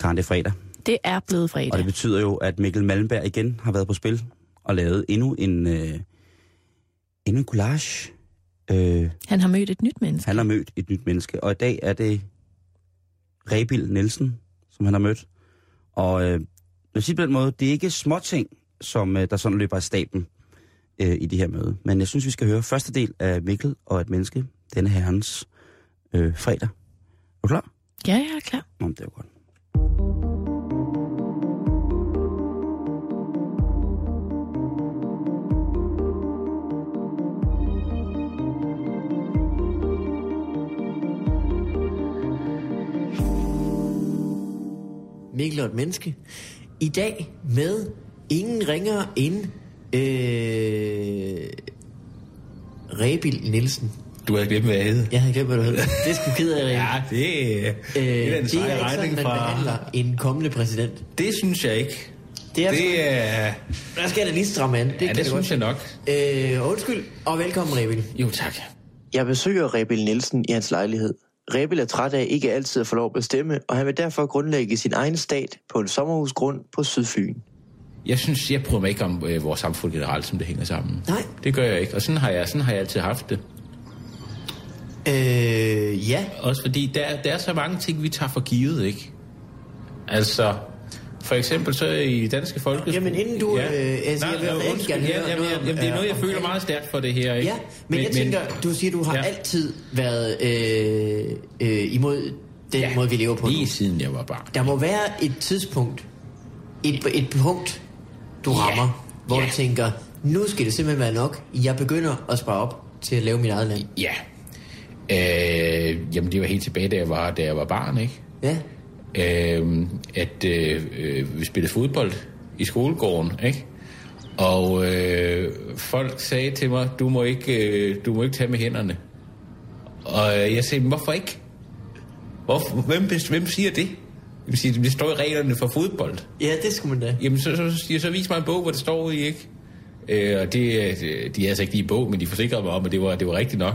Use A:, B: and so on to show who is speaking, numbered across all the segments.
A: Karen, det er fredag.
B: Det er blevet
A: Og det
B: fredag.
A: betyder jo, at Mikkel Malmberg igen har været på spil og lavet endnu en, øh, endnu en collage. Øh,
B: Han har mødt et nyt menneske.
A: han har mødt et nyt menneske, og i dag er det Rebil Nielsen, som han har mødt. Og øh, lad os sige på den måde, det er ikke småting, som øh, der sådan løber af staben øh, i det her møde. Men jeg synes, vi skal høre første del af Mikkel og et menneske, denne herrens øh, fredag. Er du klar?
B: Ja, jeg er klar.
A: Nå, men det er jo godt.
C: Mikkel og et menneske. I dag med ingen ringer end øh, Rebil Nielsen.
D: Du havde glemt, hvad jeg hed.
C: Jeg havde glemt, hvad du hed. Det er sgu ked af, Rebil.
D: Ja, det, øh, det er
C: Øh, det
D: en
C: er
D: sej
C: ikke sådan,
D: regning
C: man
D: fra...
C: behandler en kommende præsident.
D: Det synes jeg ikke.
C: Det er sgu-
D: det, er,
C: Der skal jeg da lige stramme an. Det,
D: ja, det synes jeg nok.
C: jeg. Øh, undskyld, og velkommen, Rebil.
D: Jo, tak.
E: Jeg besøger Rebel Nielsen i hans lejlighed. Rebel er træt af ikke altid at få lov at bestemme, og han vil derfor grundlægge sin egen stat på en sommerhusgrund på Sydfyn.
D: Jeg synes, jeg bryder mig ikke om øh, vores samfund generelt, som det hænger sammen.
C: Nej.
D: Det gør jeg ikke, og sådan har jeg, sådan har jeg altid haft det.
C: Øh, ja.
D: Også fordi der, der er så mange ting, vi tager for givet, ikke? Altså, for eksempel så i Danske Folkeskole...
C: Jamen, inden du, øh, altså, jeg vil
D: nå,
C: rigtig
D: undskyld,
C: gerne
D: ja,
C: høre
D: jamen,
C: noget om,
D: jamen, det er noget, jeg
C: øh,
D: føler
C: omkring-
D: meget stærkt for det her, ikke?
C: Ja, men, men jeg tænker, du siger, du har ja.
D: Ja.
C: altid været øh, øh, imod den ja. måde, vi lever på nu.
D: Lige siden jeg var barn.
C: Der må være et tidspunkt, et, et punkt, du rammer, hvor
D: Ja.
C: du tænker, nu skal det simpelthen være nok. Jeg begynder at spare op til at lave mit eget land.
D: Ja. Øh, jamen, det var helt tilbage, da jeg var, da jeg var barn, ikke?
C: Ja,
D: øh, at øh, øh, vi spillede fodbold i skolegården, ikke? Og øh, folk sagde til mig, du må ikke, øh, du må ikke tage med hænderne. Og øh, jeg sagde, "Men hvorfor ikke? Hvorfor? Hvem, bes- hvem siger det? Jamen, siger, de, det står i reglerne for fodbold.
C: ja det skulle man da.
D: Jamen, så, så, så, så vis mig en bog, hvor det står i, ikke? Øh, og det, øh, de havde altså ikke lige en bog, men de forsikrede mig om, at det var, det var rigtigt nok.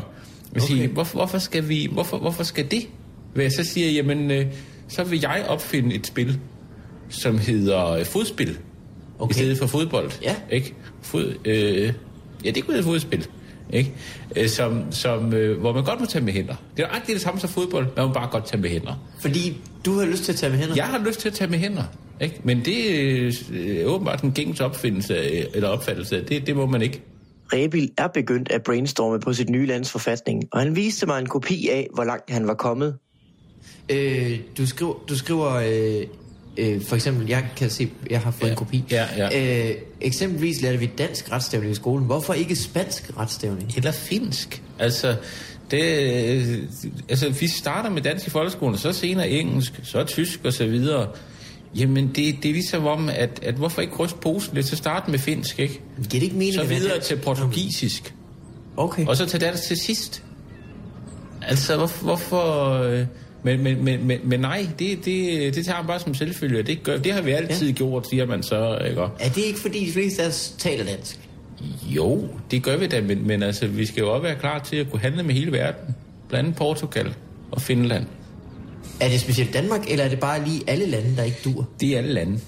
D: Men okay. siger, hvorfor, hvorfor, skal vi, hvorfor, hvorfor skal det være? Så siger jeg, jamen, øh, så vil jeg opfinde et spil, som hedder øh, fodspil. Okay.
C: Okay.
D: I stedet for fodbold.
C: Ja.
D: Ikke? Fod, øh, ja, det kunne hedde fodspil. Ikke? Øh, som, som, øh, hvor man godt må tage med hænder. Det er nøjagtigt det samme som fodbold, man må bare godt tage med hænder.
C: Fordi du har lyst til at tage med hænder.
D: Jeg har lyst til at tage med hænder. Ikke? Men det øh, er åbenbart en gængs opfindelse, øh, eller opfattelse. af, Det, det må man ikke.
E: Rebil er begyndt at brainstorme på sit nye lands forfatning, og han viste mig en kopi af, hvor langt han var kommet.
C: Øh, du skriver, du skriver øh, øh, for eksempel, jeg kan se, jeg har fået ja. en kopi.
D: Ja, ja.
C: Øh, eksempelvis lærte vi dansk retstavning i skolen. Hvorfor ikke spansk retstavning?
D: Eller finsk. Altså, det, øh, altså vi starter med dansk i folkeskolen, så senere engelsk, så tysk og så videre. Jamen, det, det er ligesom om, at, at hvorfor ikke ryste posen lidt, så starte med finsk, ikke?
C: Giver det ikke mening?
D: Så
C: at være
D: videre
C: dansk?
D: til portugisisk.
C: Okay.
D: Og så til dansk til sidst. Altså, hvorfor... hvorfor øh, men, men, men, men, men nej, det, det, det tager man bare som selvfølge. og Det, gør, det har vi altid ja. gjort, siger man så. Ikke? Og
C: Er det ikke fordi, de fleste af os taler dansk?
D: Jo, det gør vi da, men, men altså, vi skal jo også være klar til at kunne handle med hele verden. Blandt andet Portugal og Finland.
C: Er det specielt Danmark, eller er det bare lige alle lande, der ikke dur?
D: Det er alle lande.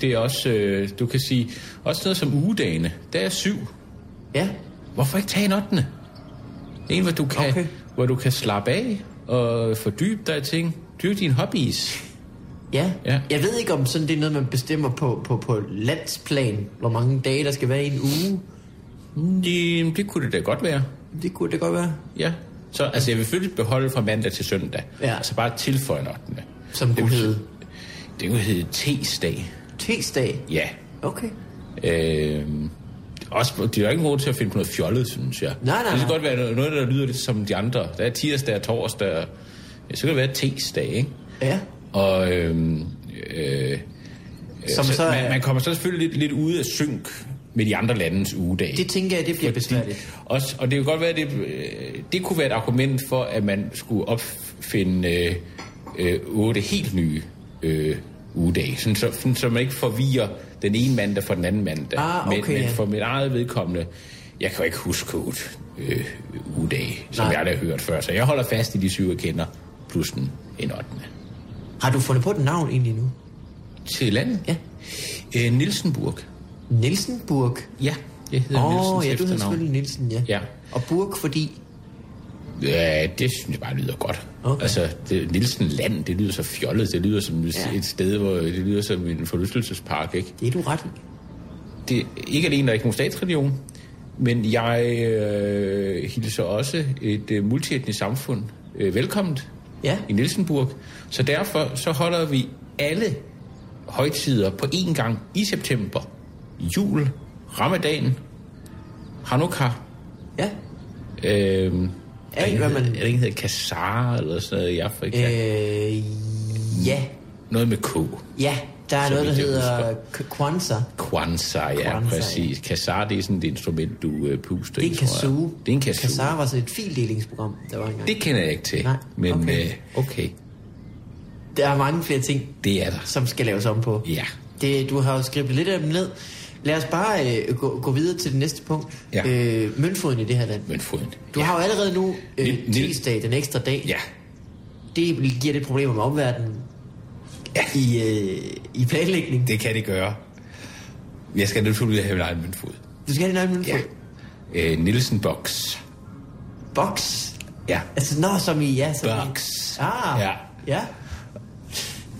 D: Det er også, øh, du kan sige, også noget som ugedagene. Der er syv.
C: Ja,
D: Hvorfor ikke tage en 8. En, hvor du kan,
C: Okay.
D: okay. hvor du kan slappe af og fordybe dig i ting. Dyrk dine hobbies.
C: ja.
D: Ja.
C: Jeg ved ikke, om sådan det er noget, man bestemmer på, på, på landsplan, hvor mange dage, der skal være i en uge.
D: Jamen, det kunne det da godt være.
C: Det kunne det godt være.
D: Ja. Så altså, jeg vil selvfølgelig beholde fra mandag til søndag.
C: Ja.
D: Altså bare tilføje en 8.
C: Som
D: det
C: kunne
D: vil-
C: hedde
D: Det kunne hedde T-dag.
C: Tesdag.
D: Ja.
C: Okay.
D: Øh, også, de er jo ikke gode til at finde på noget fjollet, synes jeg.
C: nej,
D: Det kan
C: nej.
D: godt være noget, noget, der lyder lidt som de andre. Der er tirsdag og torsdag. og- Ja, så kan det være T-dag, ikke?
C: Ja.
D: Og øhm, øh,
C: Som så,
D: så, man,
C: er-
D: man kommer så selvfølgelig lidt, lidt ude af synk med de andre landes ugedage.
C: Det tænker jeg, det bliver besværligt.
D: Og, s- og det kan godt være, at det, øh, det kunne være et argument for, at man skulle opfinde øh, øh, otte helt nye øh, ugedage, sådan så, sådan, så man ikke forvirrer den ene mandag fra den anden mandag.
C: Ah, okay,
D: men, men
C: ja.
D: for mit eget vedkommende, jeg kan jo ikke huske otte øh, ugedage, som
C: Nej.
D: Nej. jeg aldrig har hørt før, så jeg holder fast i de syv, jeg kender, plus en, en ottende.
C: Har du fundet på et navn egentlig nu?
D: Til landet?
C: Ja.
D: Øh, Nielsenburg.
C: Nielsenburg.
D: Ja, jeg hedder
C: Åh,
D: Nielsens
C: oh, ja, du hedder
D: efternavn.
C: selvfølgelig Nielsen, ja.
D: Ja.
C: Og Burg, fordi...
D: Ja, det synes jeg bare lyder godt.
C: Okay.
D: Okay. Altså, det, Nielsen Land, det lyder så fjollet. Det lyder som et,
C: Ja.
D: ja. et sted, hvor det lyder som en forlystelsespark, ikke?
C: Det er du ret i.
D: Det, ikke alene er der ikke nogen statsreligion, men jeg øh, hilser også et øh, multietnisk samfund øh, velkomment
C: Ja.
D: i Nielsenburg. Så derfor så holder vi alle højtider på én gang i september. Jul, Ramadan, Hanukkah,
C: Ja.
D: Øhm,
C: Alt, hvad man-
D: Er det ikke hedder Kassar eller sådan noget i Afrika? Øh.
C: Øh, ja.
D: Noget med K.
C: Ja, der er
D: Så
C: noget, der
D: vidt jeg
C: hedder K- Kwanzaa.
D: Kwanzaa, ja,
C: Kwanzaa, ja.
D: præcis. Kassar, det er sådan et instrument, du øh, puster
C: Det er
D: i,
C: en
D: tror jeg.
C: kazoo.
D: Det er en kazoo.
C: Kazaa var sådan et fildelingsprogram, der var engang. Det...
D: Det kender jeg ikke til.
C: Nej,
D: men
C: okay.
D: Øh, okay,
C: Der er mange flere ting,
D: det er der.
C: som skal laves om på.
D: Ja.
C: Det, du har jo skrevet lidt af dem ned. Lad os bare øh, gå, gå videre til det næste punkt.
D: Ja.
C: Øh, møntfoden i det her land.
D: Men foden.
C: Du ja. har jo allerede nu øh,
D: Lidt- lidt-
C: tirsdag, den ekstra dag.
D: Ja,
C: Det giver lidt problemer med omverdenen ja. i, øh, i planlægning.
D: det kan det gøre. Jeg skal naturligvis have min egen møntfod.
C: Du skal have din egen møntfod.
D: Ja. Øh, Nielsen Box.
C: Boks.
D: Ja.
C: Altså, nå, som i, ja. Som
D: Box.
C: I. Ah,
D: Ja.
C: ja.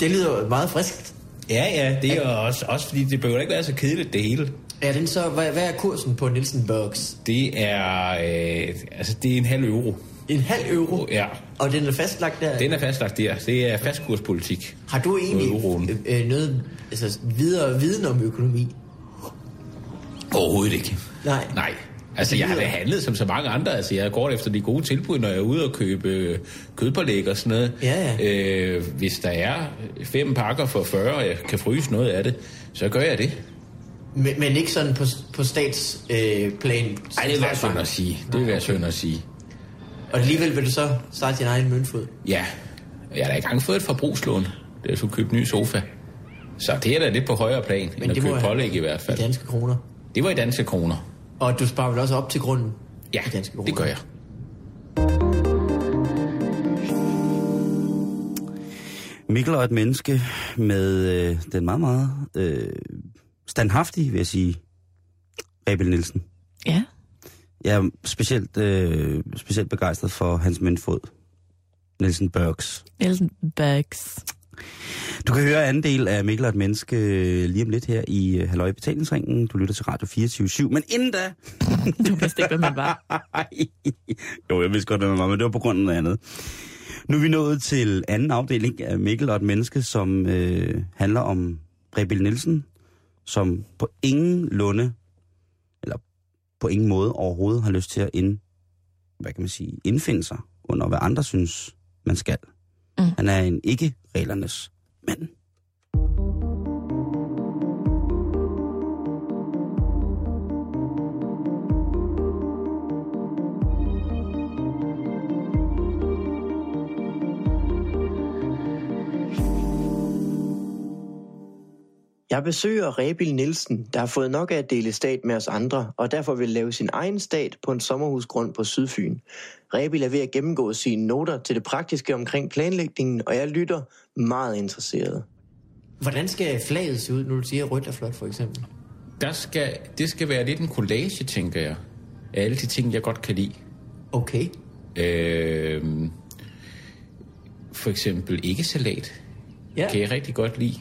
C: Det lyder jo meget friskt.
D: Ja, ja, det er også, også fordi det behøver ikke være så kedeligt, det hele.
C: Er den så, hvad, hvad er kursen på Nielsen Box?
D: Det er, øh, altså, det er en halv euro.
C: En halv euro?
D: Ja.
C: Og den er fastlagt der?
D: Den er fastlagt der. Det er fastkurspolitik.
C: Har du
D: På euroen.
C: egentlig øh, øh, noget altså, videre viden om økonomi?
D: Overhovedet ikke.
C: Nej.
D: Nej. Altså, jeg har da handlet som så mange andre. Altså, jeg går efter de gode tilbud, når jeg er ude og købe øh, kødpålæg og sådan noget.
C: Ja, ja.
D: Øh, hvis der er fem pakker for 40, og jeg kan fryse noget af det, så gør jeg det.
C: Men, men ikke sådan på, på statsplan? Øh, plan.
D: Ej, det vil være synd at sige. Det vil være synd at sige.
C: Og alligevel vil du så starte din egen møntfod?
D: Ja, jeg har da ikke engang fået et forbrugslån, da jeg skulle købe en ny sofa. Så det er da lidt på højere plan, Men end at
C: det må
D: købe
C: jeg-
D: pålæg i hvert
C: I
D: fald.
C: danske kroner.
D: Det var i danske kroner.
C: Og du sparer vel også op til grunden?
D: Ja,
C: i danske kroner.
D: det gør jeg.
A: Mikkel er et menneske med øh, den meget, meget øh, standhaftige, vil jeg sige, Rebel Nielsen.
B: Ja.
A: Jeg er specielt, øh, specielt begejstret for hans møntfod, Nielsen Børks.
B: Elton Bags.
A: Du kan høre anden del af Mikkel og et menneske øh, lige om lidt her i øh, Halløj i Betalingsringen. Du lytter til Radio 24 Men inden da...
B: Du vidste ikke, hvad man var.
A: Ej. jo, jeg vidste godt, hvad man var, men det var på grund af noget andet. Nu er vi nået til anden afdeling af Mikkel og et menneske, som øh, handler om Rebel Nielsen, som på ingen lunde, eller på ingen måde overhovedet har lyst til at ind, hvad kan man sige, indfinde sig under, hvad andre synes, man skal.
B: Mm.
A: Mm. Han er en ikke-reglernes mand.
E: Jeg besøger Rebil Nielsen, der har fået nok af at dele stat med os andre, og derfor vil lave sin egen stat på en sommerhusgrund på Sydfyn. Rebil er ved at gennemgå sine noter til det praktiske omkring planlægningen, og jeg lytter meget interesseret.
C: Hvordan skal flaget se ud, når du siger rødt er flot, for eksempel?
D: Der skal, det skal være lidt en collage, tænker jeg. Af alle de ting, jeg godt kan lide.
C: Okay.
D: Øh, for eksempel ikke salat.
C: Ja.
D: Kan jeg rigtig godt lide.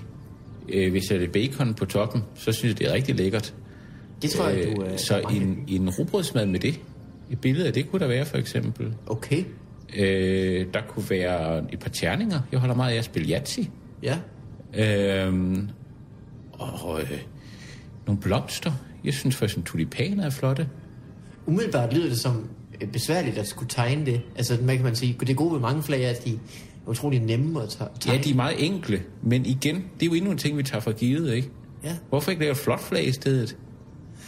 D: Øh, hvis jeg er lidt bacon på toppen, så synes jeg, det er rigtig lækkert.
C: Det tror jeg, du... Øh,
D: så en, en rugbrødsmad med det. Et billede af det kunne der være, for eksempel.
C: Okay.
D: Øh, der kunne være et par terninger. Jeg holder meget af at spille Yahtzee.
C: Ja.
D: Øhm, og øh, nogle blomster. Jeg synes for eksempel, tulipaner er flotte.
C: Umiddelbart lyder det som øh, besværligt at skulle tegne det. Altså, hvad kan man sige? Det gode ved mange flag er, at de er utrolig nemme at te- tegne.
D: Ja, de er meget enkle, men igen, det er jo endnu en ting, vi tager for givet, ikke?
C: Ja.
D: Hvorfor ikke lave et flot flag i stedet?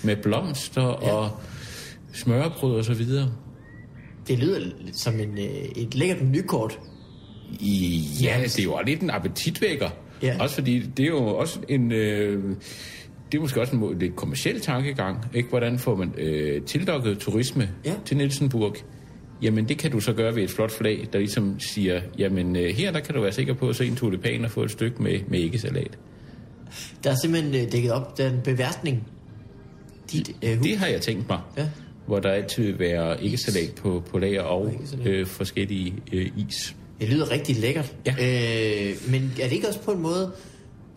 D: Med blomster ja. og smørbrød og så videre.
C: Det lyder lidt som en, øh, et lækkert menukort.
D: I, ja, det er jo også lidt en appetitvækker.
C: Ja.
D: Ja. Også fordi det er jo også en... Øh, det er måske også en måde, lidt kommersiel tankegang, ikke? Hvordan får man øh, tildokket turisme
C: Ja.
D: til Nielsenburg Jamen det kan du så gøre ved et flot flag, der ligesom siger, jamen øh, her der kan du være sikker på at se en tulipan og få et stykke med, med æggesalat.
C: Der er simpelthen øh, dækket op den beværtning. Dit øh, hus.
D: Det har jeg tænkt mig.
C: Ja.
D: Hvor der altid vil være æggesalat på, på lager og
C: æggesalat.
D: øh, forskellige øh, is.
C: Det lyder rigtig lækkert.
D: Ja.
C: Øh, men er det ikke også på en måde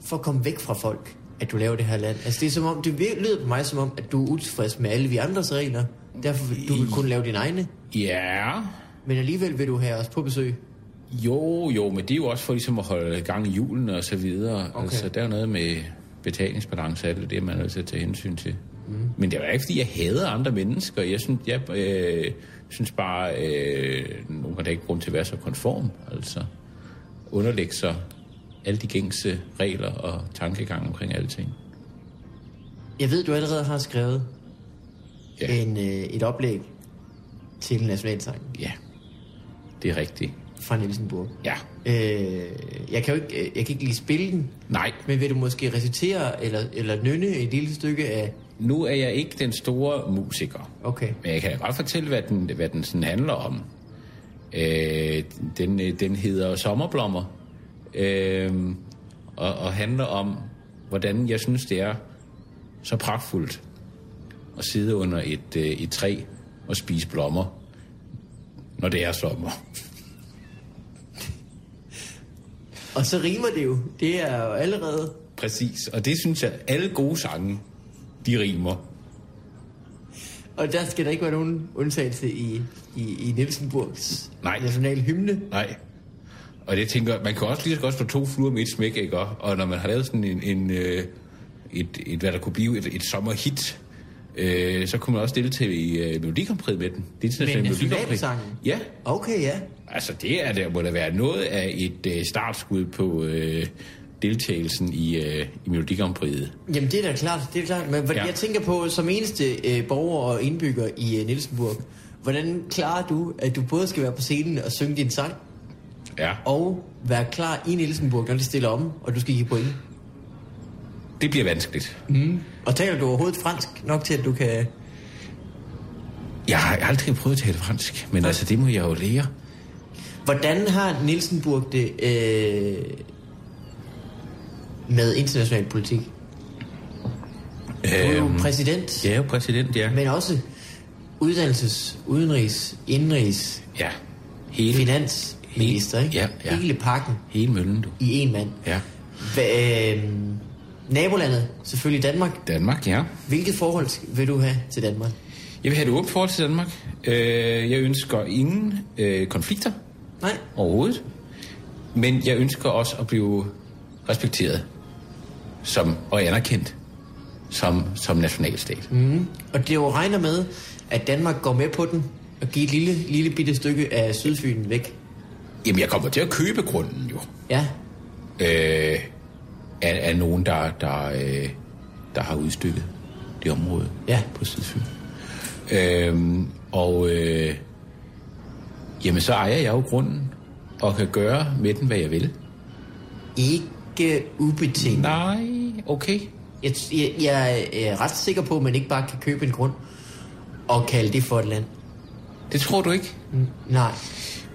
C: for at komme væk fra folk, at du laver det her land? Altså det er som om, det vir- lyder på mig som om, at du er utilfreds med alle vi andres regler. Derfor vil du vil kun lave dine egne.
D: Ja,
C: Men alligevel vil du have os på besøg.
D: jo, jo, men det er jo også for ligesom at holde gang i julen og så videre. Okay. Altså der er jo noget med betalingsbalance og alt det, der, man er nødt til at tage hensyn til. Mm. Men det er jo ikke, fordi jeg hader andre mennesker. Jeg synes, jeg, øh, synes bare, øh, nogen har da ikke grund til at være så konform. Altså underlægge sig alle de gængse regler og tankegang omkring alting.
C: Jeg ved, du allerede har skrevet
D: Ja.
C: en, øh, et oplæg til nationalsangen
D: Ja, det er rigtigt.
C: fra Nielsenburg.
D: Ja.
C: Øh, jeg, kan jo ikke, øh, jeg kan ikke lige spille den,
D: Nej,
C: men vil du måske recitere eller, eller nynne et lille stykke af...
D: nu er jeg ikke den store musiker.
C: Okay.
D: Men jeg kan godt fortælle, hvad den, hvad den sådan handler om. Øh, den, øh, den hedder Sommerblommer, øh, og, og handler om, hvordan jeg synes, det er så pragtfuldt at sidde under et, øh, et træ og spise blommer, når det er sommer.
C: Og så rimer det jo. Det er jo allerede...
D: Præcis, og det synes jeg, alle gode sange, de rimer.
C: Og der skal der ikke være nogen undtagelse i, i, i Nielsenburgs
D: Nej.
C: nationale hymne.
D: Nej. Og det tænker jeg, man kan også lige så godt få to fluer med et smæk, ikke? Og og når man har lavet sådan en, en øh, et, et, hvad der kunne blive et, et sommerhit, øh, så kunne man også stille til i øh, Melodikampriet med den. Det internationale
C: Med
D: Melodi Grand Prix.
C: nationalsangen?
D: Ja,
C: Okay, ja.
D: altså det er der må da være noget af et øh, startskud på øh, deltagelsen i, øh, i Melodikampriet.
C: Jamen, det er da klart. Det er klart. Men hvordan,
D: Ja.
C: ja. jeg tænker på, som eneste øh, borger og indbygger i øh, Nielsenburg, hvordan klarer du, at du både skal være på scenen og synge din sang,
D: Ja,
C: og være klar i Nielsenburg, når de stiller om, og du skal give point?
D: det bliver vanskeligt.
C: Og taler du overhovedet fransk nok til, at du kan...
D: Jeg har aldrig prøvet at tale fransk, men altså det må jeg jo lære.
C: Hvordan har Nielsenburg det øh, med international politik? Du er jo
D: Øhm.
C: præsident.
D: Jeg er jo præsident, ja.
C: Men også uddannelses, udenrigs, indrigs,
D: Ja, hele,
C: finansminister, ikke?
D: Ja, ja.
C: Hele pakken
D: hele møllen, du.
C: i en mand.
D: Ja.
C: Hva, øh, nabolandet, selvfølgelig Danmark.
D: Danmark, ja.
C: Hvilket forhold vil du have til Danmark?
D: Jeg vil have et åbent forhold til Danmark. Øh, jeg ønsker ingen øh, konflikter
C: Nej,
D: overhovedet. Men jeg ønsker også at blive respekteret som, og anerkendt som, som nationalstat. Mm.
C: og det er jo regner med, at Danmark går med på den og giver et lille, lille bitte stykke af Sydfyn væk.
D: Jamen, jeg kommer til at købe grunden jo.
C: Ja,
D: Øh, af, af nogen, der, der, øh, der har udstykket det område
C: Ja.
D: på Sydfyn. Øhm, og øh, jamen, så ejer jeg jo grunden og kan gøre med den, hvad jeg vil.
C: ikke ubetinget.
D: Nej, okay.
C: Jeg, jeg, jeg er ret sikker på, at man ikke bare kan købe en grund og kalde det for et land.
D: Det tror du ikke.
C: Nej.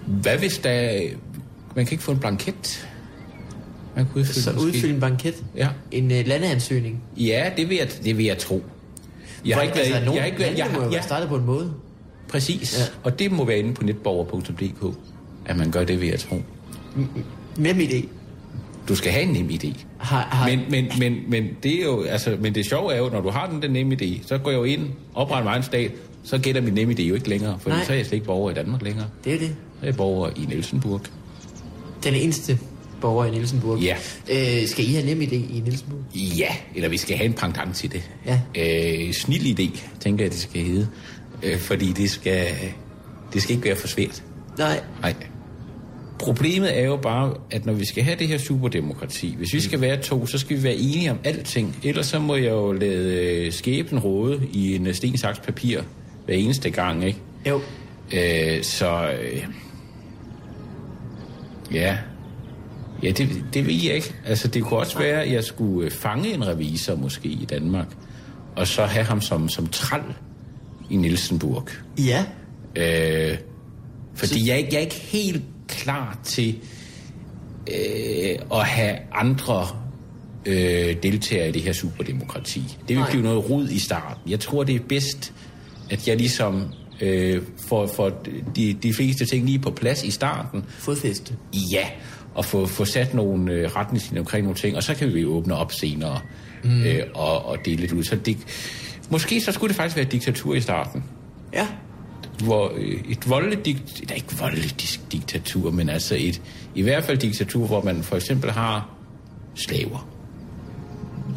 D: Hvad hvis der... Man kan ikke få en blanket. Man kan udfylde
C: Så
D: måske.
C: udfylde en banket.
D: Ja.
C: En øh, landeansøgning.
D: Ja, det vil jeg, det vil jeg tro. Jeg har ikke været...
C: altså, nogen
D: jeg har ikke været...
C: lande
D: Jeg,
C: må jo
D: jeg,
C: være startet på en måde.
D: præcis. Ja. Og det må være inde på netborger.dk, at man gør det, vil jeg tro.
C: Nem idé.
D: Du skal have en nem idé.
C: Har, har,
D: E. Men, men, men, men, det er jo, altså, men det sjove er jo, når du har den der nemme idé, så går jeg jo ind, opretter mig en stat, så gætter min nemme idé jo ikke længere, for
C: Nej.
D: så er jeg slet ikke borger i Danmark længere.
C: Det er det.
D: Så er jeg borger i Nielsenburg.
C: Den eneste borger i Nielsenburg.
D: Ja.
C: Øh, skal I have nem idé i Nielsenburg?
D: Ja, eller vi skal have en pendant til det.
C: Ja.
D: Øh, snil idé, tænker jeg, det skal hedde. Øh, fordi det skal, det skal ikke være for svært.
C: Nej.
D: Nej. Problemet er jo bare, at når vi skal have det her superdemokrati, hvis vi skal være to, så skal vi være enige om alting. Ellers så må jeg jo lade øh, skæbnen råde i en øh, sten, saks, papir hver eneste gang, ikke?
C: Jo.
D: Øh, så... Øh, ja. Ja, det, det ved jeg ikke. Altså, det kunne også være, at jeg skulle øh, fange en revisor måske i Danmark, og så have ham som, som træl i Nielsenburg.
C: Ja.
D: Øh, Fordi jeg, er ikke- jeg er ikke helt klar til øh, at have andre øh, deltagere i det her superdemokrati. Det vil
C: Nej.
D: blive noget rod i starten. Jeg tror, det er bedst, at jeg ligesom øh, får, får de, de fleste ting lige på plads i starten,
C: Fodfæste.
D: ja, og få, få sat nogle øh, retningslinjer omkring nogle ting, og så kan vi åbne op senere mm. øh, og, og dele det ud. Så det, måske så skulle det faktisk være et diktatur i starten,
C: Ja.
D: hvor øh, et voldeligt, dik, nej, ikke voldeligt dis- diktatur, men altså et, i hvert fald diktatur, hvor man for eksempel har slaver,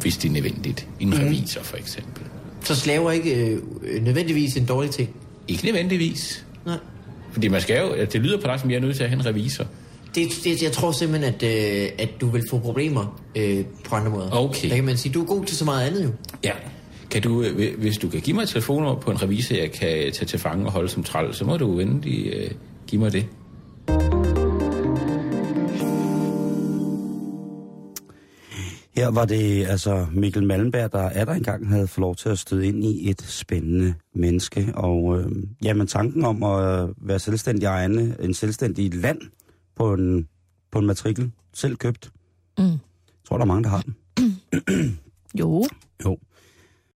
D: hvis det er nødvendigt. En revisor for eksempel.
C: Så slaver ikke øh, øh, nødvendigvis en dårlig ting.
D: Ikke nødvendigvis,
C: Nej.
D: fordi man skal jo, det lyder på dig, som jeg er nødt til at have en revisor.
C: Det, det, jeg tror simpelthen, at, øh, at du vil få problemer øh, på andre måder.
D: Okay.
C: Der kan man sige, du er god til så meget andet jo.
D: Ja. Kan du, øh, hvi- hvis du kan give mig et telefonnummer på en revisor, jeg kan øh, tage til fange og holde som træl, så må du endelig øh, give mig det.
A: Her var det altså Mikkel Malmberg, der er der engang havde fået lov til at støde ind i et spændende menneske. Og øh, jamen tanken om at være selvstændig ejende, en selvstændig land på en, på en matrikel, selv købt.
B: Mm.
A: Jeg tror, der er mange, der har den.
B: Jo,
A: Jo.